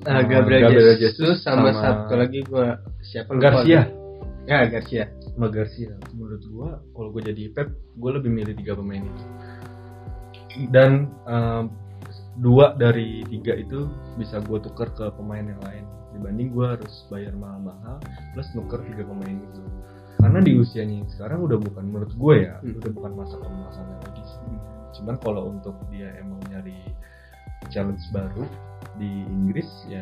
C: Ah,
A: Sama
C: Gabriel
A: Gabriel Jesus,
C: Jesus sama,
A: sama-
C: satu lagi gua siapa lupa
A: Garcia,
C: gua. Ya, Garcia.
A: sama Garcia. Menurut gue kalau gue jadi Pep, gue lebih milih tiga pemain itu. Dan em, dua dari tiga itu bisa gue tuker ke pemain yang lain dibanding gue harus bayar mahal-mahal plus nuker tiga pemain itu karena di usianya yang sekarang udah bukan menurut gue ya
C: Hmm.
A: udah bukan masa kemasannya lagi sih cuman kalau untuk dia emang nyari challenge baru di Inggris ya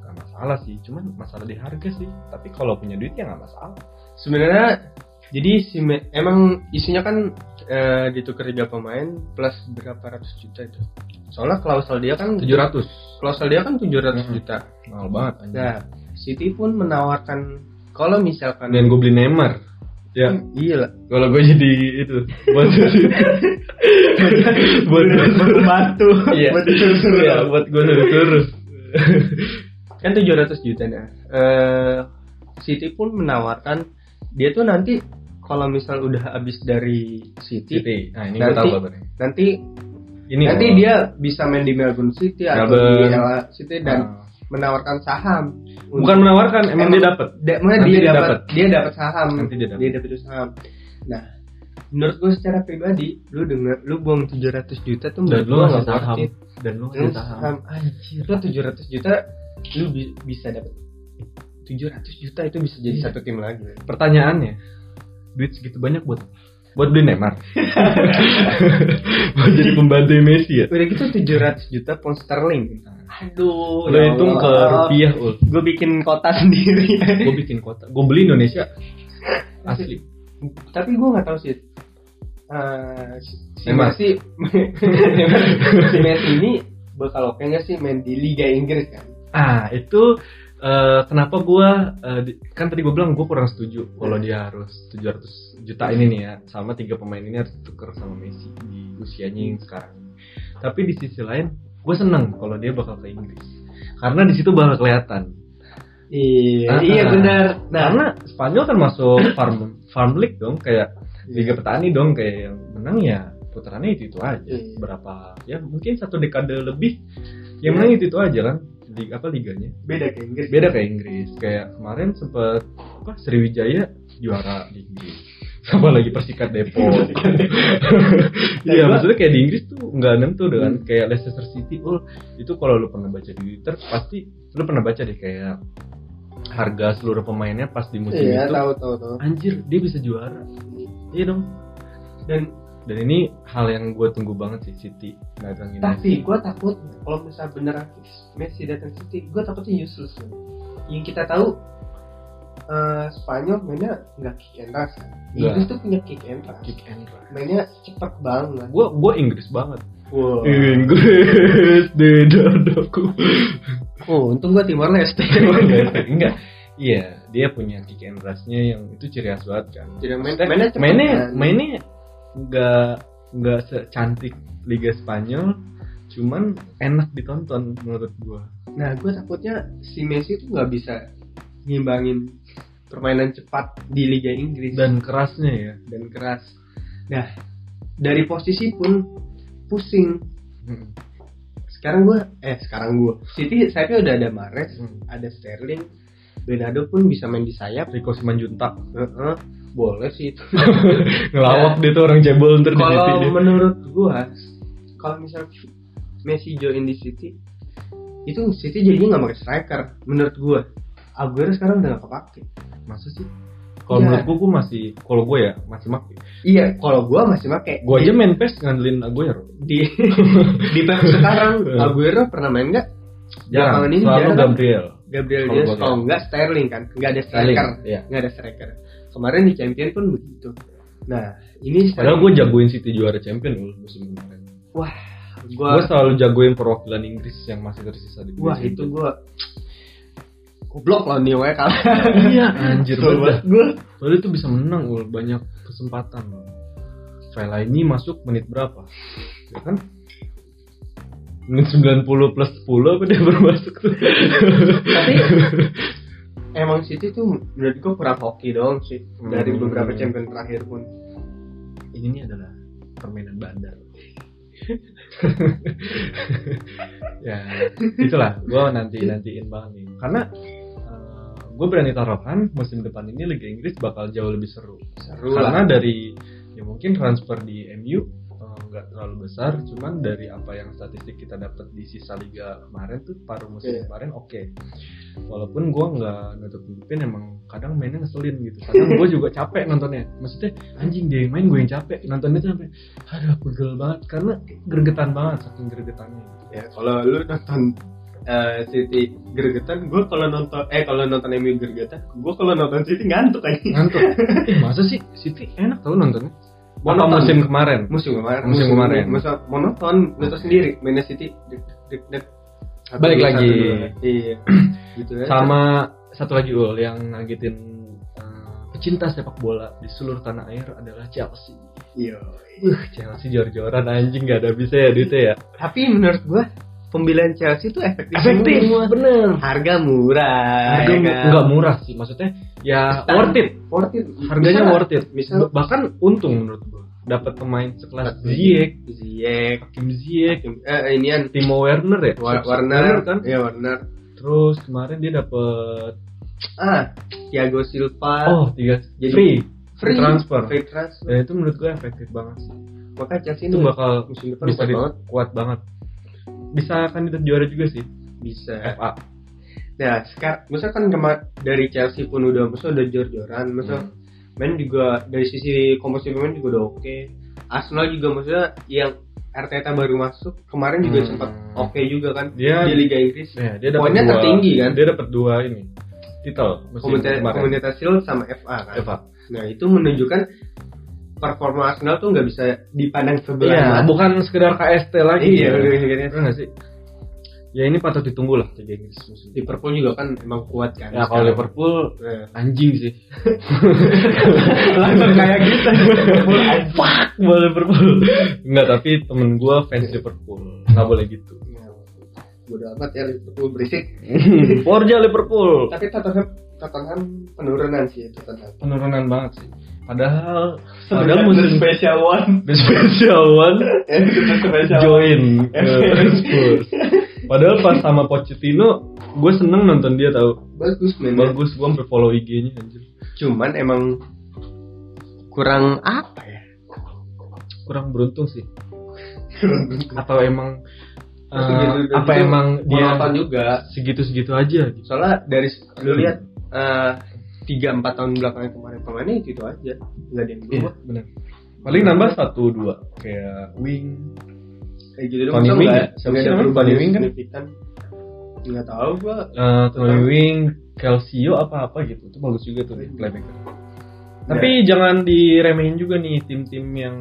A: nggak masalah sih cuman masalah di harga sih tapi kalau punya duit ya nggak masalah
C: Sebenarnya jadi si Me- emang isinya kan eh, ditukar tiga pemain plus berapa ratus juta itu. Soalnya klausul dia kan
A: 700
C: klausul dia kan 700
A: Mhm.
C: juta.
A: mahal banget anjing.
C: Nah, City pun menawarkan kalau misalkan
A: dan gue beli Neymar ya
C: iya lah.
A: kalau gue jadi itu buat buat
C: batu.
A: Iya.
C: Buat disuruh.
A: Iya, buat gue terus
C: kan 700 juta nah. Eh, City pun menawarkan dia tuh nanti kalau misal udah habis dari City,
A: nah ini
C: Nanti-
A: gue tahu kabarnya
C: nanti
A: ini Ah.
C: nanti
A: kalau-
C: dia bisa main di Melbourne City atau di
A: Melbourne.
C: LA City dan
A: Ah.
C: menawarkan saham.
A: bukan menawarkan emang dia dapat
C: Da- mana
A: Nanti
C: dia
A: dia
C: dapat
A: dapat.
C: dia dapat saham.
A: Nanti dia dapat.
C: dapat saham. Nah, menurut gue secara pribadi, lu denger lu buang 700 juta tuh
A: dan
C: menurut
A: lu
C: gua
A: nggak
C: worth
A: paham
C: it.
A: dan lu
C: Lu
A: nggak paham
C: saham anjir. Lu 700 juta lu bi- bisa dapat 700 juta itu bisa jadi
A: Iya.
C: satu tim lagi.
A: pertanyaannya duit segitu banyak buat buat beli Neymar buat jadi pembantu Messi ya
C: Udah gitu 700 juta pound sterling. Aduh,
A: lo hitung ke rupiah ul
C: Gue bikin kota sendiri.
A: gue bikin kota gue beli Indonesia asli
C: tapi gue nggak tahu sih Eh, si
A: Neymar.
C: Messi si Messi ini bakal oke nggak sih main di Liga Inggris kan
A: ah itu eh, kenapa gue kan tadi gue bilang gue kurang setuju
C: Iya.
A: kalau dia harus 700 juta ini nih ya sama tiga pemain ini harus tuker sama Messi di usianya yang sekarang tapi di sisi lain gue seneng kalau dia bakal ke Inggris karena di situ bakal kelihatan Ah.
C: iya iya benar nah
A: karena Spanyol kan masuk farm farm league dong kayak
C: Iya.
A: liga petani dong kayak yang menang ya putarannya itu itu aja
C: Iya.
A: berapa ya mungkin satu dekade lebih yang menang itu itu aja kan liga apa liganya
C: beda ke Inggris
A: beda kayak Inggris kayak kemarin sempet apa Sriwijaya juara di Inggris sama lagi Persikat Depok
C: Dan
A: Iya
C: Oh, iya. gua- Hmm.
A: maksudnya kayak di Inggris tuh nggak nentu dengan kayak Leicester City oh itu kalau lu pernah baca di Twitter pasti lu pernah baca deh kayak harga seluruh pemainnya pas di musim
C: iya
A: itu
C: tahu tahu tahu
A: anjir dia bisa juara iya dong dan dan ini hal yang gue tunggu banget sih City datang
C: tapi gue takut kalau misal beneran Messi datang City gue takutnya useless kan. yang kita tahu eh, Spanyol mainnya nggak kick and rush kan.
A: Nggak.
C: Inggris tuh punya kick and rush
A: kick and run
C: mainnya cepet banget Iya,
A: gue gue Inggris banget
C: wow.
A: Inggris di dadaku
C: oh untung gue Timor Leste
A: enggak iya dia punya kick and rush-nya yang itu ciri khas banget kan
C: Jadi main-
A: Maksudnya,
C: mainnya cepet
A: mainnya
C: kan?
A: mainnya nggak nggak secantik Liga Spanyol cuman enak ditonton menurut gua
C: Nah, gue takutnya si Messi tuh nggak bisa ngimbangin permainan cepat di Liga Inggris
A: dan kerasnya ya
C: dan keras. Nah, dari posisi pun pusing. Hmm. Sekarang gue, eh sekarang gue, City sayapnya udah ada Mares,
A: Hmm.
C: ada Sterling, Bernardo pun bisa main di sayap.
A: Rico Simanjuntak
C: Heeh, boleh sih itu.
A: ngelawak dia tuh orang cebol ntar di
C: Ya. kalau
A: City dia.
C: menurut gue, kalau misal Messi join di City, itu City jadinya nggak pakai striker. Menurut gue, Aguero sekarang udah nggak kepake.
A: masa sih kalau
C: Ya.
A: menurut gua gua masih kalau gua ya masih mak
C: Iya, kalau gua masih pakai.
A: gua aja main pes ngandelin Aguero
C: di di Pep sekarang Aguero pernah main nggak?
A: jarang
C: Belakangan ini
A: selalu
C: jarang. Iya.
A: Gabriel
C: Gabriel
A: Kalau
C: Jesus
A: gua
C: kalau nggak Sterling kan, nggak ada
A: Sterling,
C: striker,
A: iya.
C: nggak ada striker. Kemarin di Champion pun begitu. Nah ini
A: padahal
C: Sterling-
A: gua jagoin City juara champion loh musim kemarin
C: wah gua,
A: gua selalu jagoin perwakilan Inggris yang masih tersisa di
C: wah itu gua goblok loh ya, nih wae kalah.
A: Iya, anjir,
C: Kesel banget gua.
A: Padahal itu bisa menang ul banyak kesempatan. Vela ini masuk menit berapa? Ya kan? menit 90 plus 10 apa dia baru masuk tuh
C: Tapi emang City tuh menurut gue kurang hoki doang sih dari
A: Hmm.
C: beberapa champion terakhir pun.
A: ini nih adalah permainan bandar ya itulah gue nanti nantiin banget nih karena gue berani taruhan musim depan ini Liga Inggris bakal jauh lebih seru
C: Seru
A: karena
C: lah.
A: dari ya mungkin transfer di MU eh, nggak terlalu besar cuman dari apa yang statistik kita dapat di sisa liga kemarin tuh paruh musim
C: Iya.
A: kemarin oke walaupun gue nggak nutup nutupin emang kadang mainnya ngeselin gitu kadang gue juga capek nontonnya maksudnya anjing dia yang main gue yang capek nontonnya tuh sampai aduh pegel banget karena gregetan banget saking gregetannya
C: Ya kalau lu nonton eh, City gergetan, gue kalau nonton eh kalau nonton MU gergetan, gue kalau nonton City ngantuk aja.
A: ngantuk eh, masa sih City enak tau nontonnya apa
C: Monoton.
A: musim kemarin
C: Musim kemarin,
A: Musim kemarin.
C: Masa monoton, nonton sendiri, mainnya City, dek dek dek. Satu
A: Balik
C: dua,
A: lagi.
C: satu dua. Iya. gitu aja.
A: sama satu lagi ul yang ngagetin eh, pecinta sepak bola di seluruh tanah air adalah Chelsea.
C: Iya.
A: Uh, Chelsea jor-joran anjing nggak ada bisa ya duitnya ya.
C: Tapi menurut gue pembelian Chelsea itu efektif, semua.
A: bener.
C: Harga murah.
A: Harga mu- nggak murah sih, maksudnya ya
C: Stand.
A: worth it.
C: Worth it.
A: Harganya
C: Bisa.
A: worth it.
C: Bisa.
A: Bahkan untung menurut gua. Dapat pemain sekelas Ziyech,
C: Ziyech. Ziyek.
A: Kim Ziyech,
C: Eh, inian.
A: Timo Werner ya.
C: Wa-
A: Werner
C: Warner
A: kan.
C: Iya Warner.
A: Terus kemarin dia dapat
C: Ah, Thiago Silva.
A: oh tiga
C: Ah. jadi
A: free. free transfer.
C: Free transfer.
A: Dan itu menurut gua efektif banget sih.
C: Maka Chelsea
A: Itu
C: ini
A: bakal
C: musim depan
A: bisa
C: kuat
A: di-
C: banget
A: kuat banget bisa kandidat juara juga sih
C: bisa.
A: FA
C: Nah, sekarang misalkan kema- dari Chelsea pun udah masa udah jor-joran,
A: Hmm. Nah,
C: masa main juga dari sisi komposisi pemain juga udah oke. Arsenal juga maksudnya yang Arteta baru masuk kemarin juga
A: Hmm.
C: sempat oke juga kan
A: Dia-
C: di Liga Inggris.
A: Ya, dia dapat
C: Poinnya
A: dua-
C: tertinggi, kan?
A: dia dapat dua ini titel musim
C: Komunitas,
A: kemarin
C: komunitas Shield sama FA kan.
A: FA
C: Nah, itu menunjukkan performa Arsenal tuh nggak bisa dipandang sebelah.
A: iya
C: mata.
A: bukan sekedar KST lagi ya.
C: Iya, udah akhirnya.
A: Bener nggak sih ya ini patut ditunggu lah Liga Inggris musim ini.
C: Liverpool juga kan emang kuat kan.
A: ya kalau Liverpool
C: Nah,
A: anjing sih
C: langsung kayak gitu. Liverpool anjing.
A: fuck boleh Liverpool nggak tapi temen gue fans Liverpool nggak boleh gitu
C: Ya, Bodo amat ya Liverpool berisik.
A: Forja Liverpool
C: Tapi Tottenham Tottenham penurunan sih Tottenham.
A: penurunan banget sih padahal padahal musim
C: special one.
A: The special one
C: Eh, the special one. Eh,
A: join ke Spurs. Padahal pas sama Pochettino, gue seneng nonton dia tau.
C: Bagus memang.
A: Bagus, gue sampai follow IG-nya anjir.
C: Cuman emang kurang apa ya?
A: Kurang beruntung sih. Atau emang eh,
C: Segitu-
A: apa
C: gitu,
A: emang dia
C: monoton juga.
A: segitu-segitu aja gitu.
C: Soalnya dari lu lihat eh, tiga empat tahun belakangan kemarin kemarin itu, itu aja nggak ada yang berubah.
A: benar. Iya, Paling nambah satu dua kayak wing.
C: Kayak gitu doang.
A: Tony
C: Masa
A: Wing
C: nggak-
A: ya? Siapa
C: nggak ada
A: namanya?
C: perubahan
A: Tony
C: yang
A: Wing kan?
C: signifikan. Nggak tahu gua.
A: eh Tony Wing, Calcio apa-apa gitu. Itu bagus juga tuh di playmaker. Tapi jangan diremehin juga nih tim-tim yang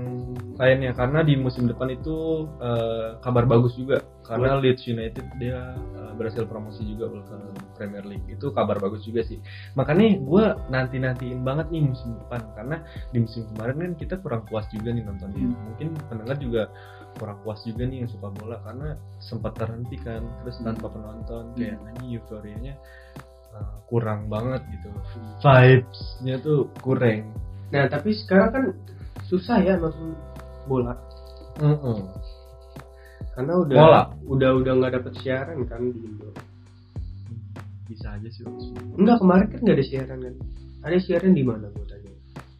A: lainnya karena di musim depan itu eh, kabar bagus juga karena Leeds United dia eh, berhasil promosi juga ke Premier League itu kabar bagus juga sih makanya gue nanti nantiin banget nih musim depan karena di musim kemarin kan kita kurang puas juga nih nontonnya mungkin pendengar juga kurang puas juga nih yang suka bola karena sempat terhenti kan terus tanpa penonton kayak anjing euforianya eh, kurang banget gitu vibesnya tuh kurang
C: Nah tapi sekarang kan susah ya nonton bola
A: Heeh.
C: karena udah
A: Bola.
C: udah udah nggak dapet siaran kan di Indo.
A: bisa aja sih langsung
C: Enggak kemarin kan nggak ada siaran kan? Ada siaran di mana gua tanya?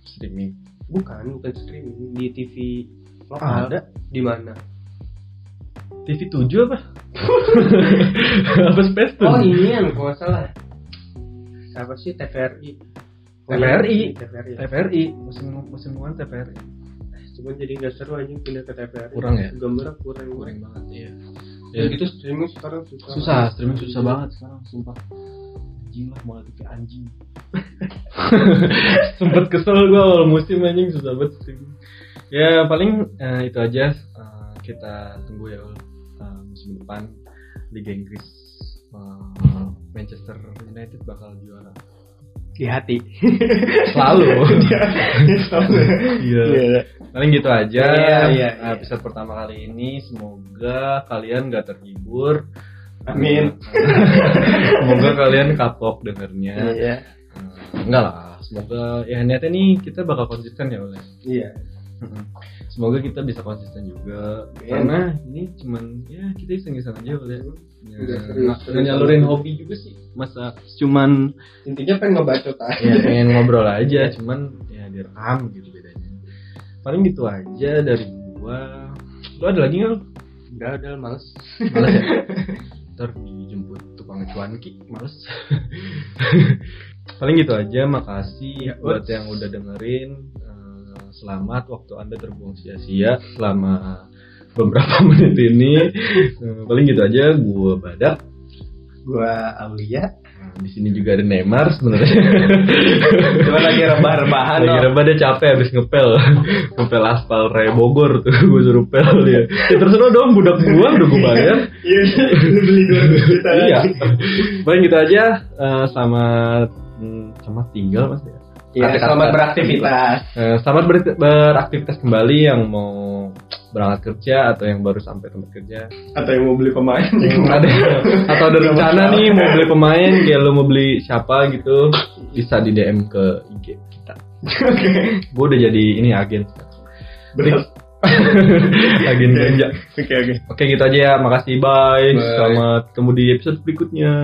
A: streaming
C: Bukan bukan streaming di TV lokal.
A: Ada.
C: Di mana?
A: TV 7 apa? iya. apa Space Tune?
C: Oh ini yang kalau nggak salah. Apa sih TVRI? Iya,
A: TVRI.
C: TVRI.
A: TVRI musim musim kemarin TVRI
C: Cuman jadi nggak seru aja pindah ke TVRI.
A: Kurang ya?
C: Gambarnya kurang kurang.
A: kurang banget iya
C: Ya. gitu streaming sekarang susah. Iya.
A: susah streaming susah banget sekarang sumpah anjing lah mau TV anjing sempet kesel gue awal musim anjing susah banget streaming ya paling eh, itu aja Eh, kita tunggu ya eh, musim depan Liga Inggris Eh, Manchester United bakal juara
C: di hati
A: Selalu.
C: Iya, selalu.
A: Iya.
C: Iya.
A: Paling gitu aja
C: Iya, iya,
A: Nah, episode pertama kali ini. Semoga kalian gak terhibur.
C: Amin.
A: semoga kalian kapok dengernya.
C: Iya.
A: Eh, Enggak lah. Semoga ya niatnya nih kita bakal konsisten ya oleh.
C: Iya.
A: Semoga kita bisa konsisten juga.
C: Amin.
A: Karena ini cuman ya kita iseng-iseng aja oleh. Ya,
B: Udah serius,
A: nggak-
B: serius.
A: nyalurin hobi juga sih masa cuman
B: Intinya pengen ngebacot aja.
A: ya pengen ngobrol
B: Iya.
A: aja cuman ya direkam gitu bedanya paling gitu aja dari gua lu ada lagi nggak lu?
C: Udah, udah males.
A: males ya ntar dijemput tukang cuanki males paling gitu aja makasih
C: Ya,
A: buat
C: uts.
A: yang udah dengerin Eh, selamat waktu anda terbuang sia-sia selama beberapa menit ini Eh, paling gitu aja gua badak
C: Gua Aulia.
A: Nah, di sini juga ada Neymar sebenarnya.
C: Gua lagi
A: Lagi
C: rebah-rebahan. Dok.
A: reba dia capek habis ngepel. ngepel aspal Raya Bogor tuh gue suruh pel dia. Ya, terus lo dong budak gua udah gue bayar.
C: Iya. lu Beli dua juta.
A: iya. Paling gitu aja eh, selamat hmm, selamat tinggal Mas ya.
C: Iya, selamat beraktivitas.
A: Eh, selamat ber- beraktivitas kembali yang mau berangkat kerja atau yang baru sampai tempat kerja.
C: Atau yang mau beli pemain.
A: ada atau ada rencana nih mau beli pemain kayak lo mau beli siapa gitu bisa di DM ke IG kita gue udah jadi ini agen
C: Berat.
A: agen belanja
C: Oke, oke.
A: oke gitu aja ya makasih bye
C: Iya. Bye.
A: selamat ketemu di episode berikutnya